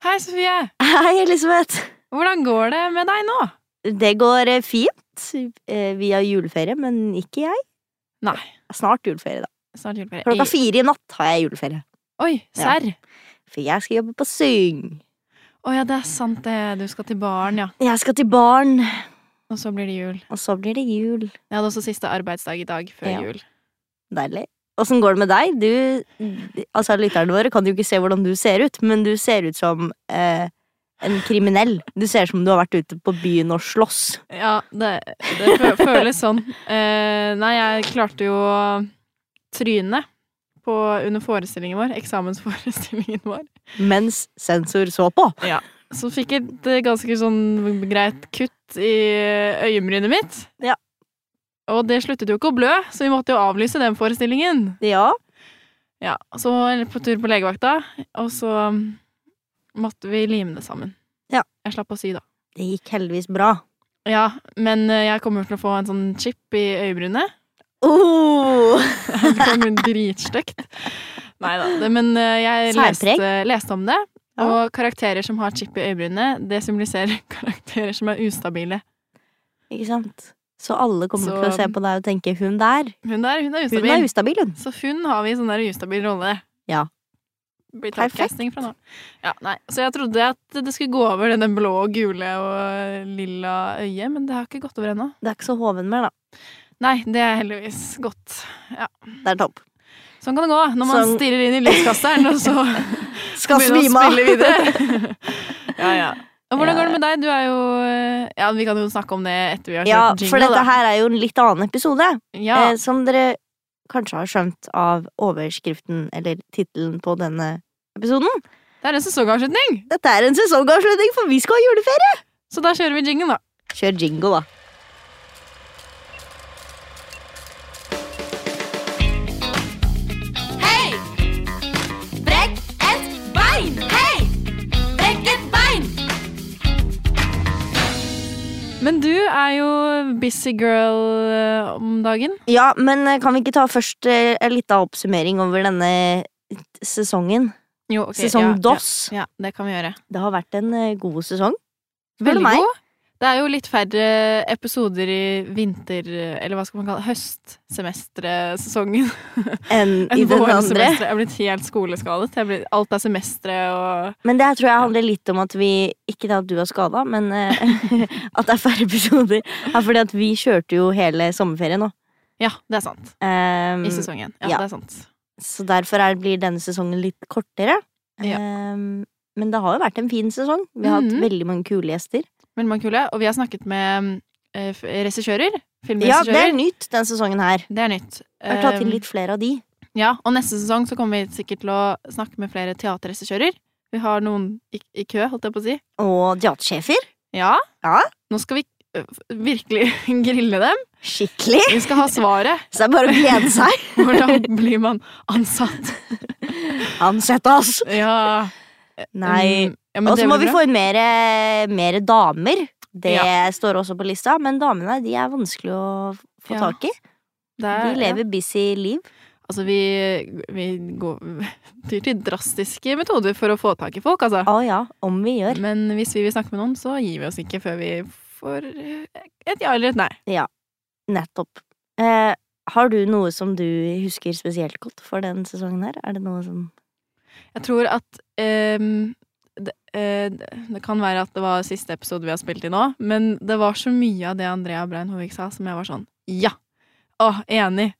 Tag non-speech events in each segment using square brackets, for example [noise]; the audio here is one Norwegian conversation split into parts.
Hei, Sofie! Hei, Elisabeth. Hvordan går det med deg nå? Det går eh, fint. Eh, Vi har juleferie, men ikke jeg. Nei. Snart juleferie, da. Snart juleferie. Klokka I- fire i natt har jeg juleferie. Oi, serr! For jeg skal jobbe på Syng. Å ja, det er sant det. Du skal til baren, ja. Jeg skal til barn, Og så blir det jul. og så blir det jul. Jeg hadde også siste arbeidsdag i dag, før Ja. jul. Deilig. Åssen går det med deg? Du, altså Lytterne våre kan jo ikke se hvordan du ser ut, men du ser ut som eh, en kriminell. Du ser ut som du har vært ute på byen og slåss. Ja, det, det [laughs] fø- føles sånn. Eh, nei, jeg klarte jo å tryne på, under forestillingen vår, eksamensforestillingen vår. Mens sensor så på. Så fikk jeg et eh, ganske sånn greit kutt i eh, øyenbrynet mitt. Ja. Og det sluttet jo ikke å blø, så vi måtte jo avlyse den forestillingen. Ja. Ja, så var jeg på tur på legevakta, og så um, måtte vi lime det sammen. Ja. Jeg slapp å sy, da. Det gikk heldigvis bra. Ja, men eh, jeg kommer til å få en sånn chip i øyebrynet. [laughs] Oh. Det kommer dritstygt. Nei da, men eh, jeg Særpreg? leste, leste om det. Ja. Og karakterer som har chip i øyebrynet, det symboliserer [laughs] karakterer som er ustabile. Ikke sant? Så alle kommer Så- til å se på deg og tenke 'hun der, Hun der, hun er hun ustabil. er ustabil, hun'. Så hun har vi i sånn der ustabil rolle. Ja. Blir Perfekt. typecasting fra nå. Ja, nei. Så jeg trodde at det skulle gå over denne blå, gule og lilla øyet, men det har ikke gått over ennå. Det er ikke så hoven mer, da. Nei, det er heldigvis godt. Det er topp. Sånn kan det gå når man Sånn. stirrer inn i lyskasteren, og [laughs] så Skal begynner svime man å av! spille [laughs] videre. ja, ja. Og hvordan Ja, går det med deg? Du er jo eh, Ja, vi kan jo snakke om det etter vi har kjørt Ja, jingle, for dette da. her er jo en litt annen episode. Ja, Eh, som dere kanskje har skjønt av overskriften eller tittelen på denne episoden. det er en sesongavslutning, Dette er en sesongavslutning, for vi skal ha juleferie! så da kjører vi jingle, da. Kjør jingle, da. Hei! Brekk et bein! Hei! Brekk et bein! Men du er jo busy girl eh, om dagen. Ja, men eh, kan vi ikke ta først eh, en liten oppsummering over denne sesongen? Jo, ok, Sesong ja, DOS. Ja, ja, det kan vi gjøre. Det har vært en eh, god sesong. Spør du Veldig meg? god. Det er jo litt færre episoder i vinter... Eller hva skal man kalle det? Høstssemestresesongen Enn [laughs] i enn den andre. vårsemesteret. Jeg er blitt helt skoleskadet. Jeg er blitt, alt er semestre og Men det her tror jeg handler litt om at vi Ikke det at du er skada, men eh, [laughs] at det er færre episoder. Er fordi at vi kjørte jo hele sommerferien nå. Ja, det er sant. Ehm, I sesongen. Ja, ja. det er sant. så derfor er, blir denne sesongen litt kortere. Ja. Ehm, men det har jo vært en fin sesong. Vi har Mhm. hatt veldig mange kule gjester. Veldig mange kule. Og vi har snakket med eh, f- regissører. Ja, det er Filmregissører. nytt denne sesongen her. det er nytt. Jeg har tatt inn Um, litt flere av de. Ja, og neste sesong så kommer vi sikkert til å snakke med flere teaterregissører. Vi har noen i, i kø, holdt jeg på å si. Og teatersjefer. Ja. Ja. Nå skal vi ø, virkelig [laughs] grille dem. Skikkelig! Vi skal ha svaret. Så det er bare å glede seg. Hvordan blir man ansatt? [laughs] Ansett oss! Ja. Nei. Mm, Ja, men Og det så må blir vi bra. få inn mer, mer damer. Det står også på lista, men damene de er vanskelig å få Ja, tak i. Det De er- lever busy liv. ja. Altså, vi, vi går [laughs] tyr til drastiske metoder for å få tak i folk, altså. Å ja, om vi gjør. Men hvis vi vil snakke med noen, så gir vi oss ikke før vi får ø, et ja eller et nei. Nettopp. Eh, har du noe som du husker spesielt godt for den sesongen her? Er det noe som Jeg tror at ehm, det, eh, det kan være at det var siste episode vi har spilt i nå, men det var så mye av det Andrea Brein Hovig sa, som jeg var sånn Ja! Å, enig.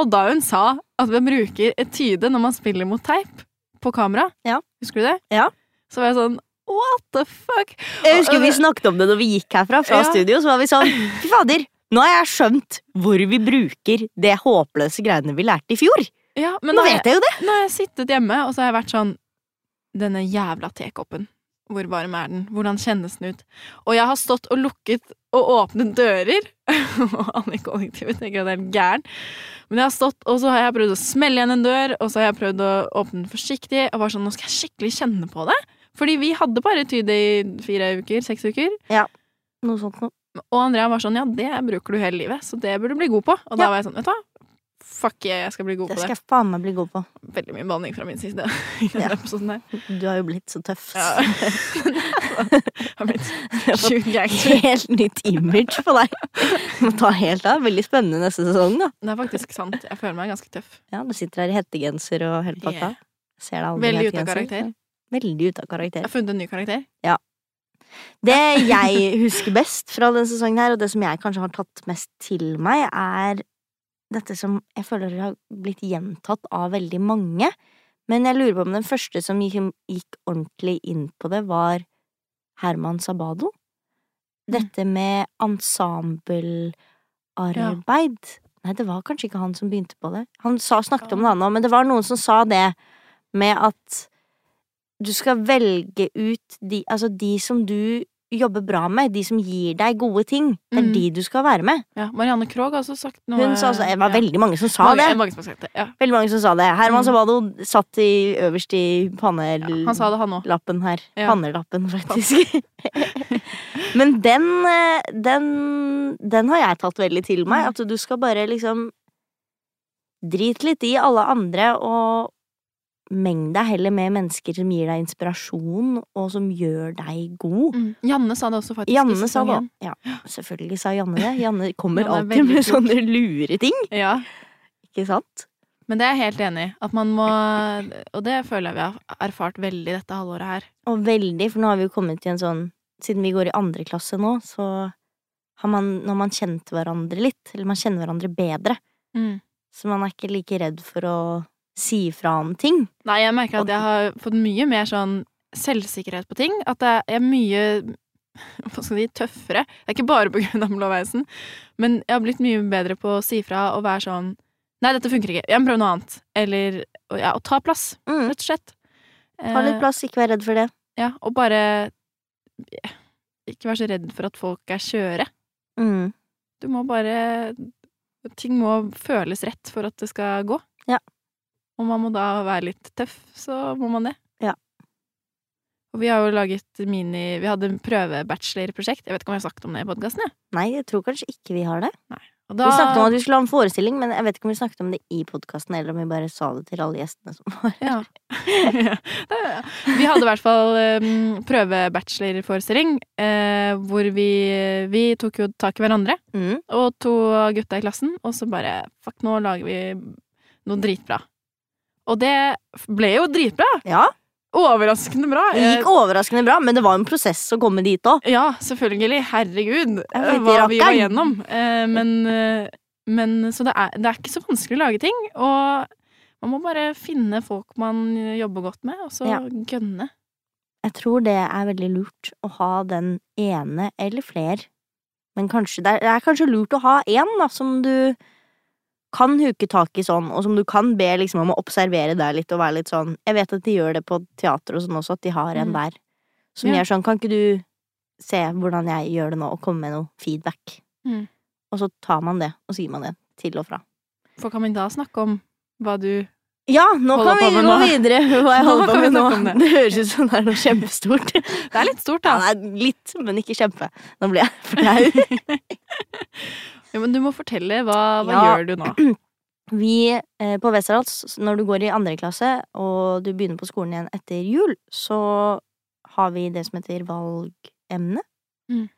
Og da hun sa at man bruker et tyde når man spiller mot teip på kamera, Ja. husker du det? Ja. Så var jeg sånn What the fuck? Jeg husker vi snakket om det når vi gikk herfra fra Øh. Ja. studio, så var vi sånn Fy fader, nå har jeg skjønt hvor vi bruker det håpløse greiene vi lærte i fjor. Ja, men Nå nå har jeg, vet jeg jo det! nå har jeg sittet hjemme, og så har jeg vært sånn Denne jævla tekoppen. Hvor varm er den? Hvordan kjennes den ut? Og jeg har stått og lukket og åpnet dører. [laughs] Og alle i kollektivet tenker at jeg er helt gæren. Men jeg har stått, og så har jeg prøvd å smelle igjen en dør, og så har jeg prøvd å åpne den forsiktig. Og var sånn, nå skal jeg skikkelig kjenne på det. Fordi vi hadde bare tyde i fire uker, seks uker. Noe sånt noe. Og Andrea var sånn, ja, det bruker du hele livet, så det burde du bli god på. Og Ja. da var jeg sånn, vet du hva, Fuck yeah, jeg skal bli god Det på skal det. jeg faen meg bli god på. Veldig mye banning fra min side. [laughs] i denne Ja. episoden her. Du har jo blitt så tøff. Ja. Jeg har blitt Jeg [laughs] har sjukt gangster. [laughs] fått [laughs] helt nytt image på deg. Må ta helt av. Veldig spennende neste sesong, da. Det er faktisk sant. Jeg føler meg ganske tøff. Ja, du sitter her i hettegenser og hele pakka. Yeah. Ser deg aldri i Veldig ute av hettegenser. karakter. Veldig ute av Jeg karakter. har funnet en ny karakter. Det jeg husker best fra denne sesongen her, og det som jeg kanskje har tatt mest til meg, er dette som jeg føler har blitt gjentatt av veldig mange. Men jeg lurer på om den første som gikk, gikk ordentlig inn på det, var Herman Sabado. Dette med ensemblearbeid. Nei, det var kanskje ikke han som begynte på det. Han sa, snakket om det, han òg, men det var noen som sa det med at du skal velge ut de, altså de som du jobber bra med, de som gir deg gode ting. Det er Mm. de du skal være med. Ja, Marianne Krogh har også sagt noe. Hun sa også, det var ja. veldig mange som sa mange, det. Mange som har sagt det. Ja. Veldig mange som sa det. Mm. Herman Sabado satt i, øverst i Ja, han sa pannelappen det, han òg. her. Ja. Pannelappen, faktisk. [laughs] Men den, eh, den, den har jeg tatt veldig til Mm. meg. At du skal bare liksom Drit litt i alle andre og meng deg heller med mennesker som gir deg inspirasjon, og som gjør deg god. Mm. Janne sa det også, faktisk. i Janne sa det sesongen. òg. Ja, selvfølgelig sa Janne det. Janne kommer Janne er alltid med veldig klok. sånne lure ting, Ja. ikke sant? Men det er jeg helt enig i. At man må Og det føler jeg vi har erfart veldig dette halvåret her. Og veldig, for nå har vi jo kommet til en sånn Siden vi går i andre klasse nå, så har man, når man kjent hverandre litt, eller man kjenner hverandre bedre, så man er ikke like redd for å si fra om ting. Nei, jeg merker Og- at jeg har fått mye mer sånn selvsikkerhet på ting. At jeg er mye hva skal jeg si, tøffere. Det er ikke bare på grunn av blåveisen, men jeg har blitt mye bedre på å si fra og være sånn Nei, dette funker ikke. Jeg må prøve noe annet. Eller og ja, og ta plass, Mm. rett og slett. Eh, Ta litt plass, ikke vær redd for det. Ja, og bare Ikke vær så redd for at folk er skjøre. Mm. Du må bare Ting må føles rett for at det skal gå. Ja. Og man må da være litt tøff, så må man det. Ja. Og vi har jo laget mini Vi hadde en prøvebachelorprosjekt. Jeg vet ikke om jeg har sagt om det i podkasten, jeg. Nei, jeg tror kanskje ikke vi har det. Og da- Vi snakket om at vi skulle ha en forestilling, men jeg vet ikke om vi snakket om det i podkasten, eller om vi bare sa det til alle gjestene som [laughs] var [laughs] Ja. Det- vi hadde i hvert fall um, prøvebachelorforestilling eh, hvor vi, vi tok jo tak i hverandre. mm. og to av gutta i klassen, og så bare Fuck, nå lager vi noe dritbra. Og det ble jo dritbra! Ja, Overraskende bra. det gikk overraskende bra, men det var en prosess å komme dit òg. Eh, Ja, selvfølgelig. Herregud, eh, Jeg vet, hva vi var rakkeren. gjennom. Eh, Men, eh, men Så det er, det er ikke så vanskelig å lage ting. Og man må bare finne folk man jobber godt med, og så Ja. gønne. Jeg tror det er veldig lurt å ha den ene eller flere. Men kanskje det er, det er kanskje lurt å ha én da, som du kan huke tak i sånn, og som du kan be liksom, om å observere deg litt og være litt sånn Jeg vet at de gjør det på teater og sånn også, at de har en Mm. der. Som Ja. gjør sånn Kan ikke du se hvordan jeg gjør det nå, og komme med noe feedback? Mm. Og så tar man det, og så gir man det til og fra. For kan man da snakke om hva du Ja, nå Holder kan på vi med gå nå. videre med hva Nå jeg holder på kan vi med nå. snakke om det. Det høres ut som det er noe kjempestort. Det er litt stort, da. Ja, nei, litt, men ikke kjempe. Nå ble jeg flau. Jo, men du må fortelle. Hva, hva Ja. gjør du nå? [laughs] Vi eh, på Westerdals, når du går i andre klasse og du begynner på skolen igjen etter jul, så har vi det som heter valgemne. Mm.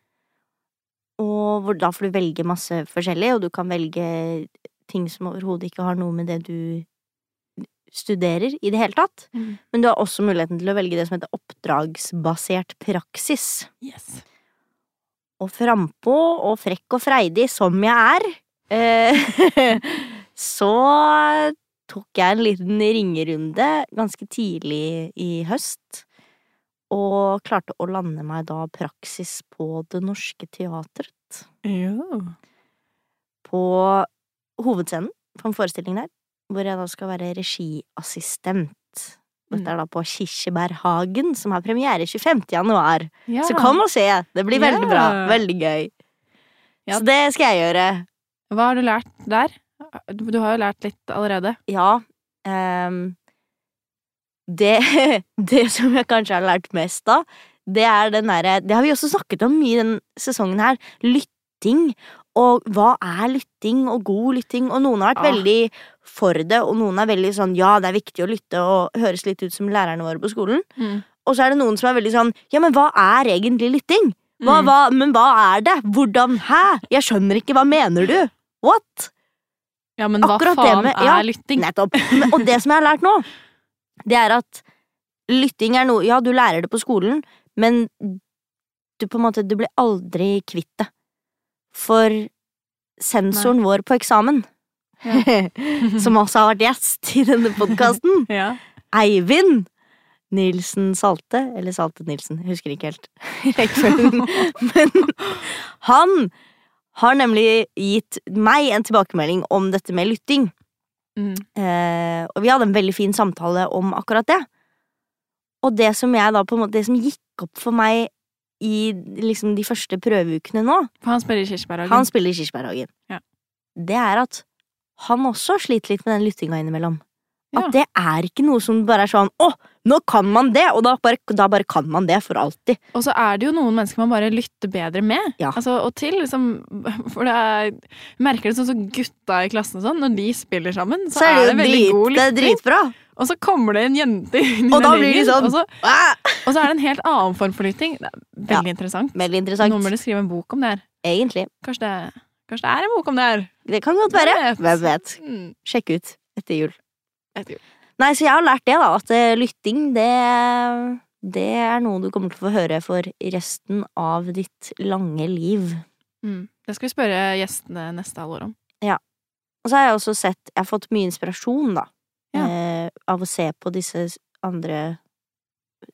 Og hvor, da får du velge masse forskjellig, og du kan velge ting som overhodet ikke har noe med det du studerer i det hele tatt. Mm. Men du har også muligheten til å velge det som heter oppdragsbasert praksis. Yes. og frampå og frekk og freidig som jeg er, eh, [laughs] så tok jeg en liten ringerunde ganske tidlig i høst. Og klarte å lande meg da praksis på Det Norske Teatret. Jo. På Hovedscenen, på en forestilling der, hvor jeg da skal være regiassistent. Dette er da på Kirsebærhagen, som har premiere 25. januar. Ja. Så kom og se! Det blir veldig Ja. bra. Veldig gøy. Ja. Så det skal jeg gjøre. Hva har du lært der? Du du har jo lært litt allerede. Ja. ehm, det, [laughs] det som jeg kanskje har lært mest av, det er den derre Det har vi også snakket om mye i den sesongen her. Lytting Og hva er lytting og god lytting? Og noen har vært Ah. veldig for det, og noen er veldig sånn ja, det er viktig å lytte og høres litt ut som lærerne våre på skolen. Mm. Og så er det noen som er veldig sånn ja, men hva er egentlig lytting? Hva, Mm. hva, men hva er det? Hvordan? Hæ? Jeg skjønner ikke. Hva mener du? What? Ja, men hva Akkurat det faen med- er ja. lytting? Nettopp. Men- Og det som jeg har lært nå, det er at lytting er noe Ja, du lærer det på skolen, men du på en måte Du blir aldri kvitt det. For sensoren vår på eksamen, [laughs] som også har vært gjest i denne podkasten, ja. Eivind Nilsen Salte, eller Salte Nilsen, jeg husker ikke helt [laughs] rekkefølgen, men han har nemlig gitt meg en tilbakemelding om dette med lytting. Mm. Eh, og vi hadde en veldig fin samtale om akkurat det. Og det som, jeg da, på en måte, det som gikk opp for meg i liksom, de første prøveukene nå For han spiller i Kirsebærhagen. Han spiller i Kirsberghagen. Ja. Det er at han også sliter litt med den lyttinga innimellom. Ja. At det er ikke noe som bare er sånn 'Å, nå kan man det!' Og da bare, da bare kan man det for alltid. Og så er det jo noen mennesker man bare lytter bedre med. Ja. Altså, og til, liksom, [laughs] for det er, jeg merker det sånn som gutta i klassen og sånn, når de spiller sammen, så, er det, jo veldig drit- god det er lytting. dritbra. Og så kommer det en jente inn i Og da den blir de ringen, sånn- og, så, Ah! og så er det en helt annen form for lytting. Det er veldig interessant. Veldig interessant. Nå må du skrive en bok om det her. Egentlig. Kanskje det, kanskje det er en bok om det her. Det kan godt Hvem være. vet? Hvem vet. Mm. Sjekk ut etter jul. etter jul. Nei, så jeg har lært det, da. At eh, lytting, det, det er noe du kommer til å få høre for resten av ditt lange liv. Mm. Det skal vi spørre gjestene neste halvår om. Og så har jeg også sett Jeg har fått mye inspirasjon, da. Ja. Eh, av å se på disse s- andre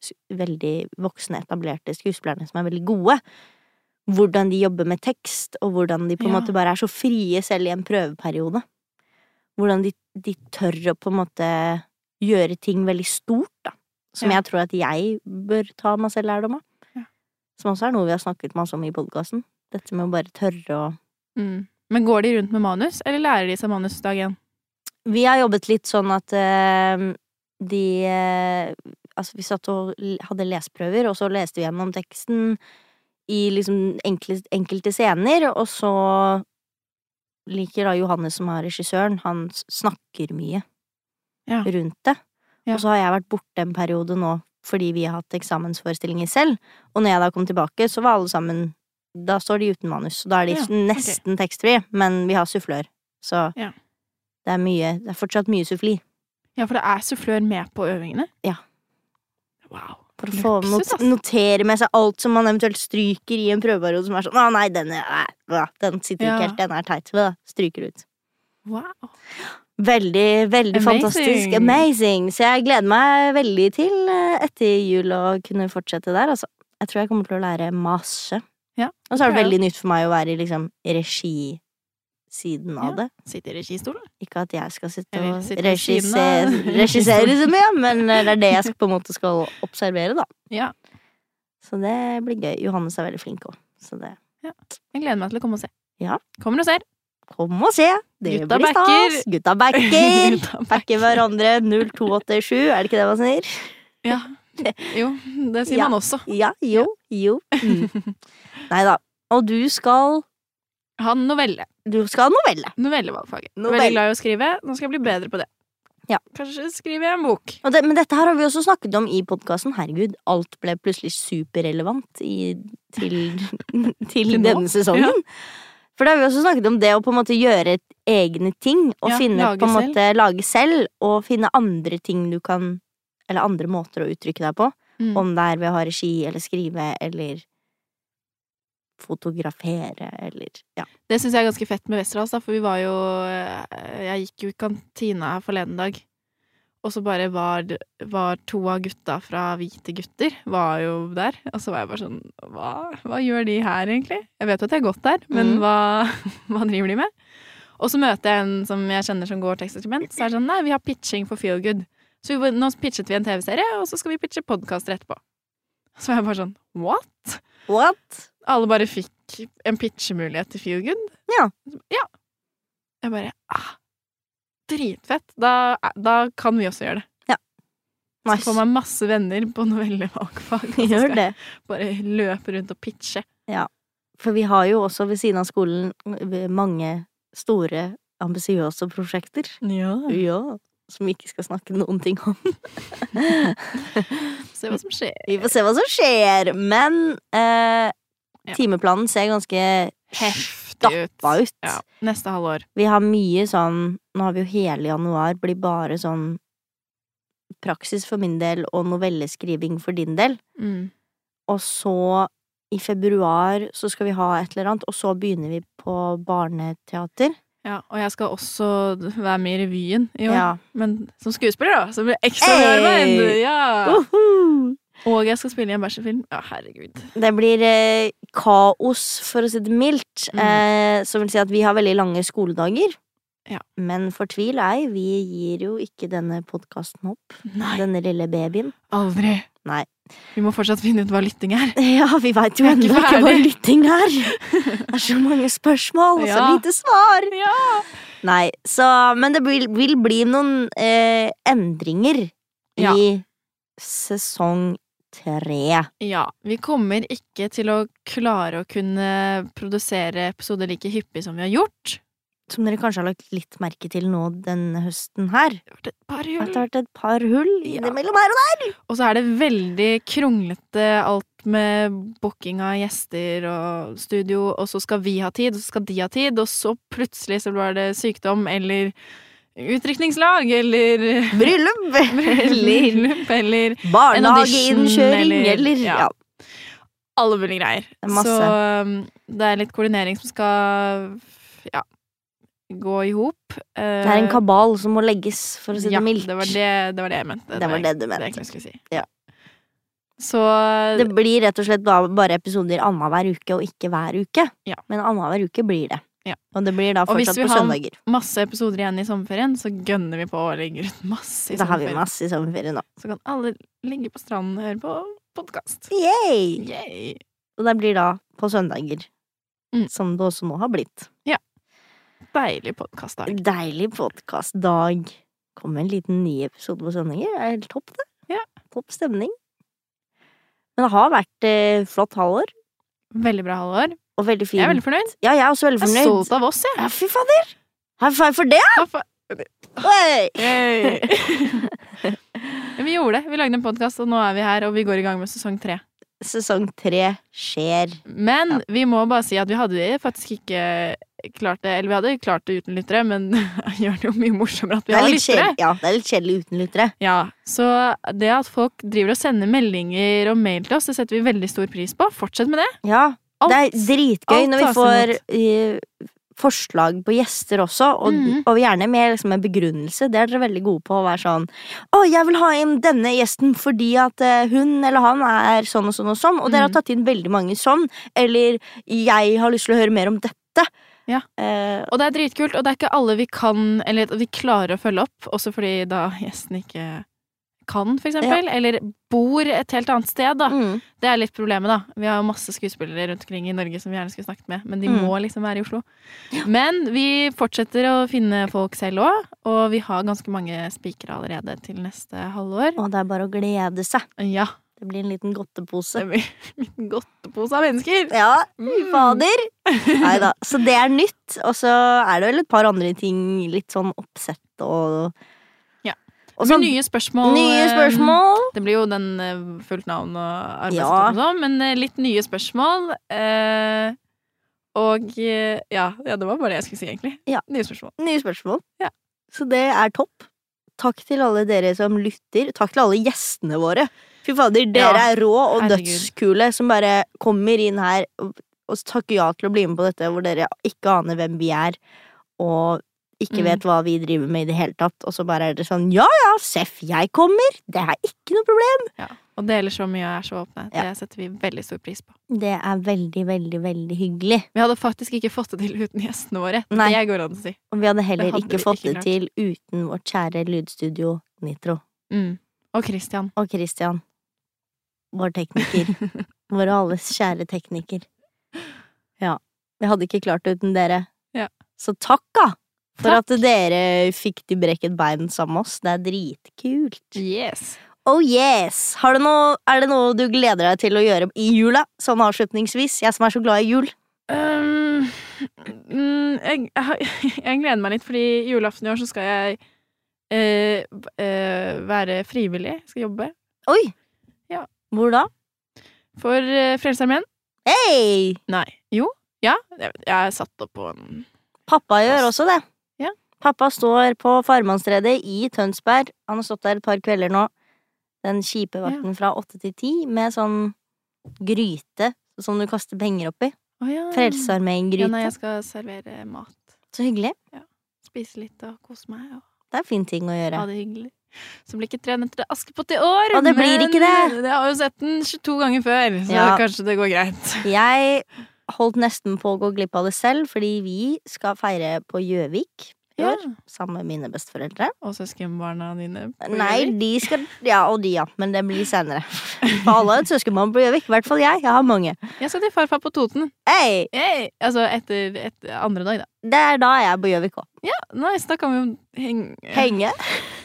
s- veldig voksne, etablerte skuespillerne som er veldig gode. Hvordan de jobber med tekst, og hvordan de på en Ja. måte bare er så frie selv i en prøveperiode. Hvordan de, de tør å på en måte gjøre ting veldig stort, da. Som Ja. jeg tror at jeg bør ta meg selv lærdom av. Ja. Som også er noe vi har snakket masse om i podkasten. Dette med å bare tørre å Mm. Men går de rundt med manus, eller lærer de seg manus dag én? Vi har jobbet litt sånn at eh, de eh, Altså, vi satt og l- hadde leseprøver, og så leste vi gjennom teksten i liksom enkle, enkelte scener, og så liker da Johannes, som er regissøren, han s- snakker mye Ja. rundt det. Ja. Og så har jeg vært borte en periode nå fordi vi har hatt eksamensforestillinger selv, og når jeg da kom tilbake, så var alle sammen Da står de uten manus, så da er de Ja, s- nesten tekstfrie, men vi har sufflør, så Ja. det er mye Det er fortsatt mye suffli. Ja, for det er sufflør med på øvingene? Ja. Wow. For å få Luksus, altså. not ass. notere med seg alt som man eventuelt stryker i en prøveperiode som er sånn 'Å, nei, den, er, nei, hva, den sitter Ja. ikke helt. Den er teit.' Hva, stryker ut. wow. Veldig, veldig Amazing. fantastisk. Amazing. Så jeg gleder meg veldig til eh, etter jul å kunne fortsette der, altså. Jeg tror jeg kommer til å lære masse. Ja, Og så er det tror jeg veldig nytt for meg å være i liksom regisiden Ja. av det. Sitter i registolen. Ikke at jeg skal sitte Eller og sitte ved siden av regissere, regissere så mye, [laughs] men eh, det er det jeg skal, på en måte skal observere, da. Ja. Så det blir gøy. Johannes er veldig flink òg, så det Jeg gleder meg til å komme og se. Ja. Kommer og ser. Kom og se! Det Gutta blir stas! backer. Gutta [laughs] backer! Gutta Backer hverandre 0287, er det ikke det man sier? Ja. Jo, det sier Ja. man også. Ja, jo, jo. Mm. [laughs] Nei da. Og du skal Ha en novelle. Du skal ha novelle. Novellevagfaget. Novelle. Veldig glad i å skrive. Nå skal jeg bli bedre på det. Ja. Kanskje skriver jeg en bok. Og det, men dette her har vi også snakket om i podkasten. Herregud, alt ble plutselig superrelevant i, [laughs] til, til nå? denne sesongen. Ja. For da har vi også snakket om det å på en måte gjøre et egne ting. Og Ja, finne, lage på en selv. måte, lage selv. Og finne andre ting du kan Eller andre måter å uttrykke deg på. Mm. Om det er ved å ha regi eller skrive eller fotografere eller Ja. Det syns jeg er ganske fett med Westerdals, da, for vi var jo eh, Jeg gikk jo i kantina her forleden dag, og så bare var, var to av gutta fra Hvite gutter var jo der. Og så var jeg bare sånn Hva, hva gjør de her, egentlig? Jeg vet jo at jeg har gått der, men Mm. hva, [laughs] hva driver de med? Og så møter jeg en som jeg kjenner som går tekstdokument, så er det sånn Nei, vi har pitching for Feelgood. Så vi, nå pitchet vi en TV-serie, og så skal vi pitche podkaster etterpå. Så var jeg bare sånn What? What? alle bare fikk en pitchemulighet til Feelgood. Ja. ja. Jeg bare ah, Dritfett. Da, da kan vi også gjøre det. Så Nice. får man masse [laughs] [laughs] venner på novellevalgfag. og så skal Gjør det. jeg Bare løpe rundt og pitche. For vi har jo også ved siden av skolen eh, mange store, ambisiøse prosjekter. Ja. Ja. Som vi ikke skal snakke noen ting om. [laughs] Se hva som skjer. Vi får se hva som skjer. Men eh, Ja. timeplanen ser ganske Heftig ut. stappa ut. Ja. Neste halvår. Vi har mye sånn Nå har vi jo hele januar blir bare sånn praksis for min del og novelleskriving for din del. Mm. Og så i februar så skal vi ha et eller annet, og så begynner vi på barneteater. Ja, og jeg skal også være med i revyen i år. Ja. Men som skuespiller, da. Så blir jeg ekstra Hey! Uh. nørmenn! Ja. Uhu! Og jeg skal spille i en bæsjefilm. Ja, herregud. Det blir eh, kaos, for å si det mildt. Mm. Eh, som vil si at vi har veldig lange skoledager. Ja. Men fortvil ei, vi gir jo ikke denne podkasten opp. Nei, Denne lille [laughs] babyen. aldri. Nei. Vi må fortsatt finne ut hva lytting er. Ja, vi veit jo Vi er ennå ikke ikke hva ferdig. lytting er! Det er så mange spørsmål, og så Ja. lite svar! Ja. Nei, så Men det vil, vil bli noen eh, endringer Ja. i sesong tre. ja. Vi kommer ikke til å klare å kunne produsere episoder like hyppig som vi har gjort. Som dere kanskje har lagt litt merke til nå denne høsten her. Det har vært et par At jul. det har vært et par hull Ja. innimellom her og der. Og så er det veldig kronglete alt med booking av gjester og studio, og så skal vi ha tid, og så skal de ha tid, og så plutselig så var det sykdom eller utdrikningslag eller [laughs] Bryllup eller [laughs] bryllup eller barnehageinnkjøring eller- eller ja. ja. alle mulige greier. er masse. Så um, det er litt koordinering som skal ja, gå i hop. Det er en kabal som må legges, for å si ja, det mildt. Det var det, det var det jeg mente. Det var det du Det mente. jeg egentlig skulle si. Ja. Så Det blir rett og slett da bare episoder annenhver uke, og ikke hver uke. Ja. Men annenhver uke blir det. Ja. Og det blir da Og hvis fortsatt vi på har- søndager. masse episoder igjen i sommerferien, så gønner vi på å legge ut masse i Da har vi sommerferien. masse i sommerferie nå. Så kan alle ligge på stranden og høre på podkast. Yay! Yay. Og det blir da på søndager. Mm. Som det også nå har blitt. Deilig podkastdag. Deilig podkastdag. Kom en liten ny episode på søndager. Det er helt topp, det. Ja. Topp stemning. Men det har vært eh, flott halvår, Veldig bra halvår. og veldig fint. Jeg er veldig fornøyd. Ja, jeg er også veldig Jeg er fornøyd. stolt av oss, jeg. Ja, fy fader! High five for det! Hva fa- Oi! [laughs] Yay. vi gjorde det. Vi lagde en podkast, og nå er vi her, og vi går i gang med sesong tre. Sesong tre skjer. Men vi må bare si at vi hadde faktisk ikke klart det. Eller vi hadde klart det uten lyttere, men [laughs] gjør det jo mye morsommere at vi det, er har litt lyttere. kjedelig- ja, det er litt kjedelig uten lyttere. Ja, så det at folk driver og sender meldinger og mail til oss, det setter vi veldig stor pris på. Fortsett med det. Ja, Alt. det er dritgøy alt når vi tas får eh, forslag på gjester også, og, Mhm. og gjerne med liksom, en begrunnelse. Det er dere veldig gode på å være sånn Å, jeg vil ha inn denne gjesten fordi at eh, hun eller han er sånn og sånn og sånn, og dere har Mhm. tatt inn veldig mange sånn, eller jeg har lyst til å høre mer om dette. Ja. Eh, Og det er dritkult, og det er ikke alle vi kan, eller vi klarer å følge opp, også fordi da gjesten ikke kan, for eksempel, eller bor et helt annet sted, da. mm. Det er litt problemet, da. Vi har masse skuespillere rundt omkring i Norge som vi gjerne skulle snakket med, men de Mm. må liksom være i Oslo. Men vi fortsetter å finne folk selv òg, og vi har ganske mange spikere allerede til neste halvår. Og det er bare å glede seg. Ja. Det blir en liten godtepose. Det blir [laughs] en liten godtepose av mennesker. Ja, Mm. fader! Nei da. Så det er nytt. Og så er det vel et par andre ting, litt sånn oppsett og Ja. Og Det sånn blir nye spørsmål. nye eh, spørsmål. Det blir jo den eh, fullt navn og Ja. arbeidstid og sånn, men eh, litt nye spørsmål. eh, Og eh, ja, ja, det var bare det jeg skulle si, egentlig. Ja. Nye spørsmål. Nye spørsmål. Ja. Så det er topp. Takk til alle dere som lytter. Takk til alle gjestene våre. Fy fader, dere Ja, er rå og herregud. dødskule som bare kommer inn her og og takker ja til å bli med på dette, hvor dere ikke aner hvem vi er, og ikke Mm. vet hva vi driver med i det hele tatt. Og så bare er det sånn ja ja, seff, jeg kommer! Det er ikke noe problem. Og deler så mye og er så åpne. Ja. Det setter vi veldig stor pris på. Det er veldig, veldig, veldig hyggelig. Vi hadde faktisk ikke fått det til uten gjestene våre. Nei. Det går an å si. Og vi hadde heller Det hadde ikke vi fått ikke klart. det til uten vårt kjære lydstudio Nitro. Mm. Og Christian. Og Christian, [laughs] vår tekniker. vår alles kjære tekniker. Ja. Vi hadde ikke klart det uten dere. Ja. Så takk, da! For Takk. at dere fikk de brekket bein sammen med oss. Det er dritkult. Yes. Oh yes! Har du noe, er det noe du gleder deg til å gjøre i jula? Sånn avslutningsvis. Jeg som er så glad i jul. Øhm, Um, mm, jeg, jeg, har- [laughs] jeg gleder meg litt, fordi julaften i år så skal jeg eh, v- eh, være frivillig. Jeg skal jobbe Oi! Ja. Hvor da? for uh, Frelsesarmeen. Hei! Nei. Jo. Ja. Jeg, jeg er satt opp på en Pappa gjør også det. Ja. Pappa står på farmannstredet i Tønsberg. Han har stått der et par kvelder nå. Den kjipe vakten fra åtte til ti med sånn gryte som du kaster penger oppi. Å ja. Mm. Ja, nei, Frelsesarmeen-gryte. jeg skal servere mat. Så hyggelig. Spise litt og kose meg og Det er en fin ting å gjøre. ha det hyggelig. Så blir ikke Tre nøtter til Askepott i år, Å, det blir men ikke det. jeg har jo sett den 22 ganger før, så Ja. kanskje det går greit. Jeg holdt nesten på å gå glipp av det selv, fordi vi skal feire på Gjøvik i år. Sammen med mine besteforeldre. Og søskenbarna dine. på Nei, Gjøvik. de skal Ja, og de, ja. Men det blir senere. For alle har et søskenbarn på Gjøvik. I hvert fall jeg. Jeg har mange. Jeg skal til farfar på Toten. Hey, Hey, altså etter, etter andre dag, da. det er da jeg er på Gjøvik òg. Nice, da kan vi jo henge Henge.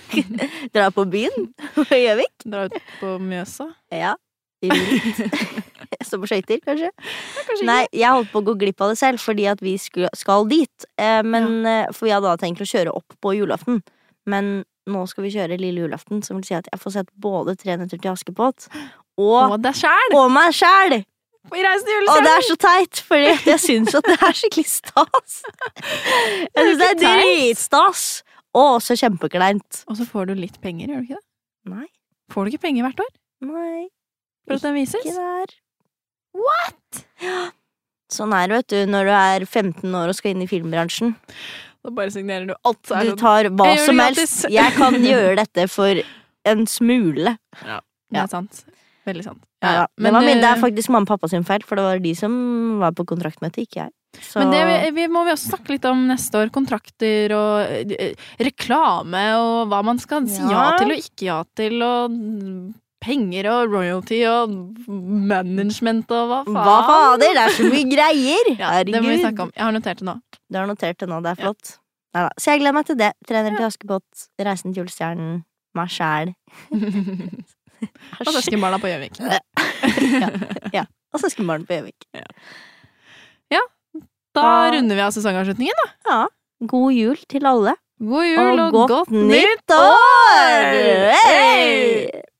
[laughs] Dra på byen på Gjøvik. Dra ut på Mjøsa. Ja. Rundt. [laughs] Som på skøyter, kanskje. Kanskje Nei, jeg holdt på å gå glipp av det selv, fordi at vi skulle, skal dit. Eh, men, eh, For vi hadde da tenkt å kjøre opp på julaften. Men nå skal vi kjøre lille julaften, som vil si at jeg får sett både Tre nøtter til Askepott ikke. og, Og deg sjæl! og meg sjæl! I Reisen til Og det julestjernen! er så teit, fordi at jeg syns at det er skikkelig [laughs] stas. Jeg syns det er Det er ikke dritstas. Og også kjempekleint. Og så får du litt penger, gjør du ikke det? Nei, Får du ikke penger hvert år nei, for at den vises? ikke der. What?! Sånn er det, vet du, når du er 15 år og skal inn i filmbransjen. Da bare signerer du alt. Så er Du det sånn. tar hva Jeg gjør det som gratis. helst. Jeg [laughs] kan gjøre dette for en smule. Det ja. er sant. Veldig sant. Ja, Ja, det, var min, det er eh, faktisk mamma og pappa sin feil, for det var de som var på kontraktmøte, ikke jeg. Så Men det vi, vi må vi også snakke litt om neste år. Kontrakter og eh, reklame og hva man skal si ja Ja. til og ikke ja til, og mm, penger og royalty og management og hva faen. Hva fader, det er så mye greier! [laughs] Ja, det må vi Herregud. snakke om. Jeg har notert [laughs] det nå. Du har notert det nå, det er Ja. flott. Neida. Så jeg gleder meg til det. Trener til Askepott, Reisen til julestjernen, meg sjæl. Og søskenbarna på Gjøvik. [laughs] Og søskenbarn på Gjøvik. Da Da- runder vi av sesongavslutningen. da. God jul til alle, God jul og, godt nytt år! Hey!